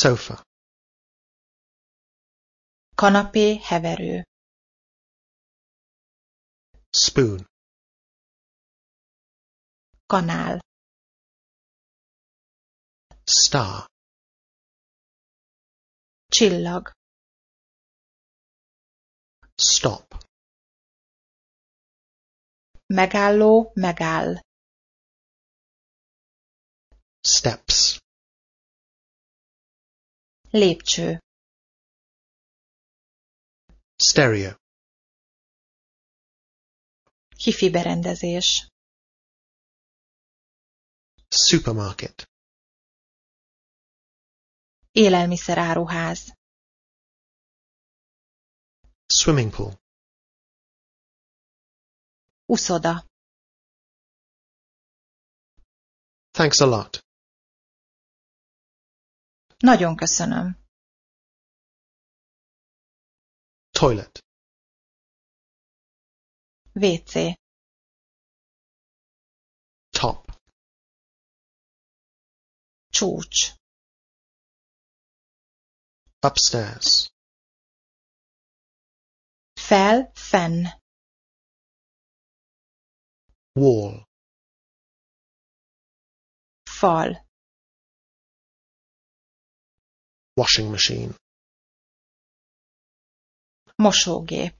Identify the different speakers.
Speaker 1: sofa
Speaker 2: Kanapé heverő.
Speaker 1: spoon
Speaker 2: Kanál.
Speaker 1: star
Speaker 2: Csillag.
Speaker 1: stop
Speaker 2: Megálló megáll.
Speaker 1: steps
Speaker 2: Lépcső.
Speaker 1: stereo
Speaker 2: Hifi berendezés.
Speaker 1: supermarket
Speaker 2: Élelmiszeráruház.
Speaker 1: swimming pool
Speaker 2: Uszoda.
Speaker 1: thanks a lot
Speaker 2: Nagyon köszönöm.
Speaker 1: toilet
Speaker 2: WC.
Speaker 1: top
Speaker 2: Csúcs.
Speaker 1: upstairs
Speaker 2: Fel, fenn.
Speaker 1: wall
Speaker 2: Fal.
Speaker 1: washing machine
Speaker 2: Mosógép.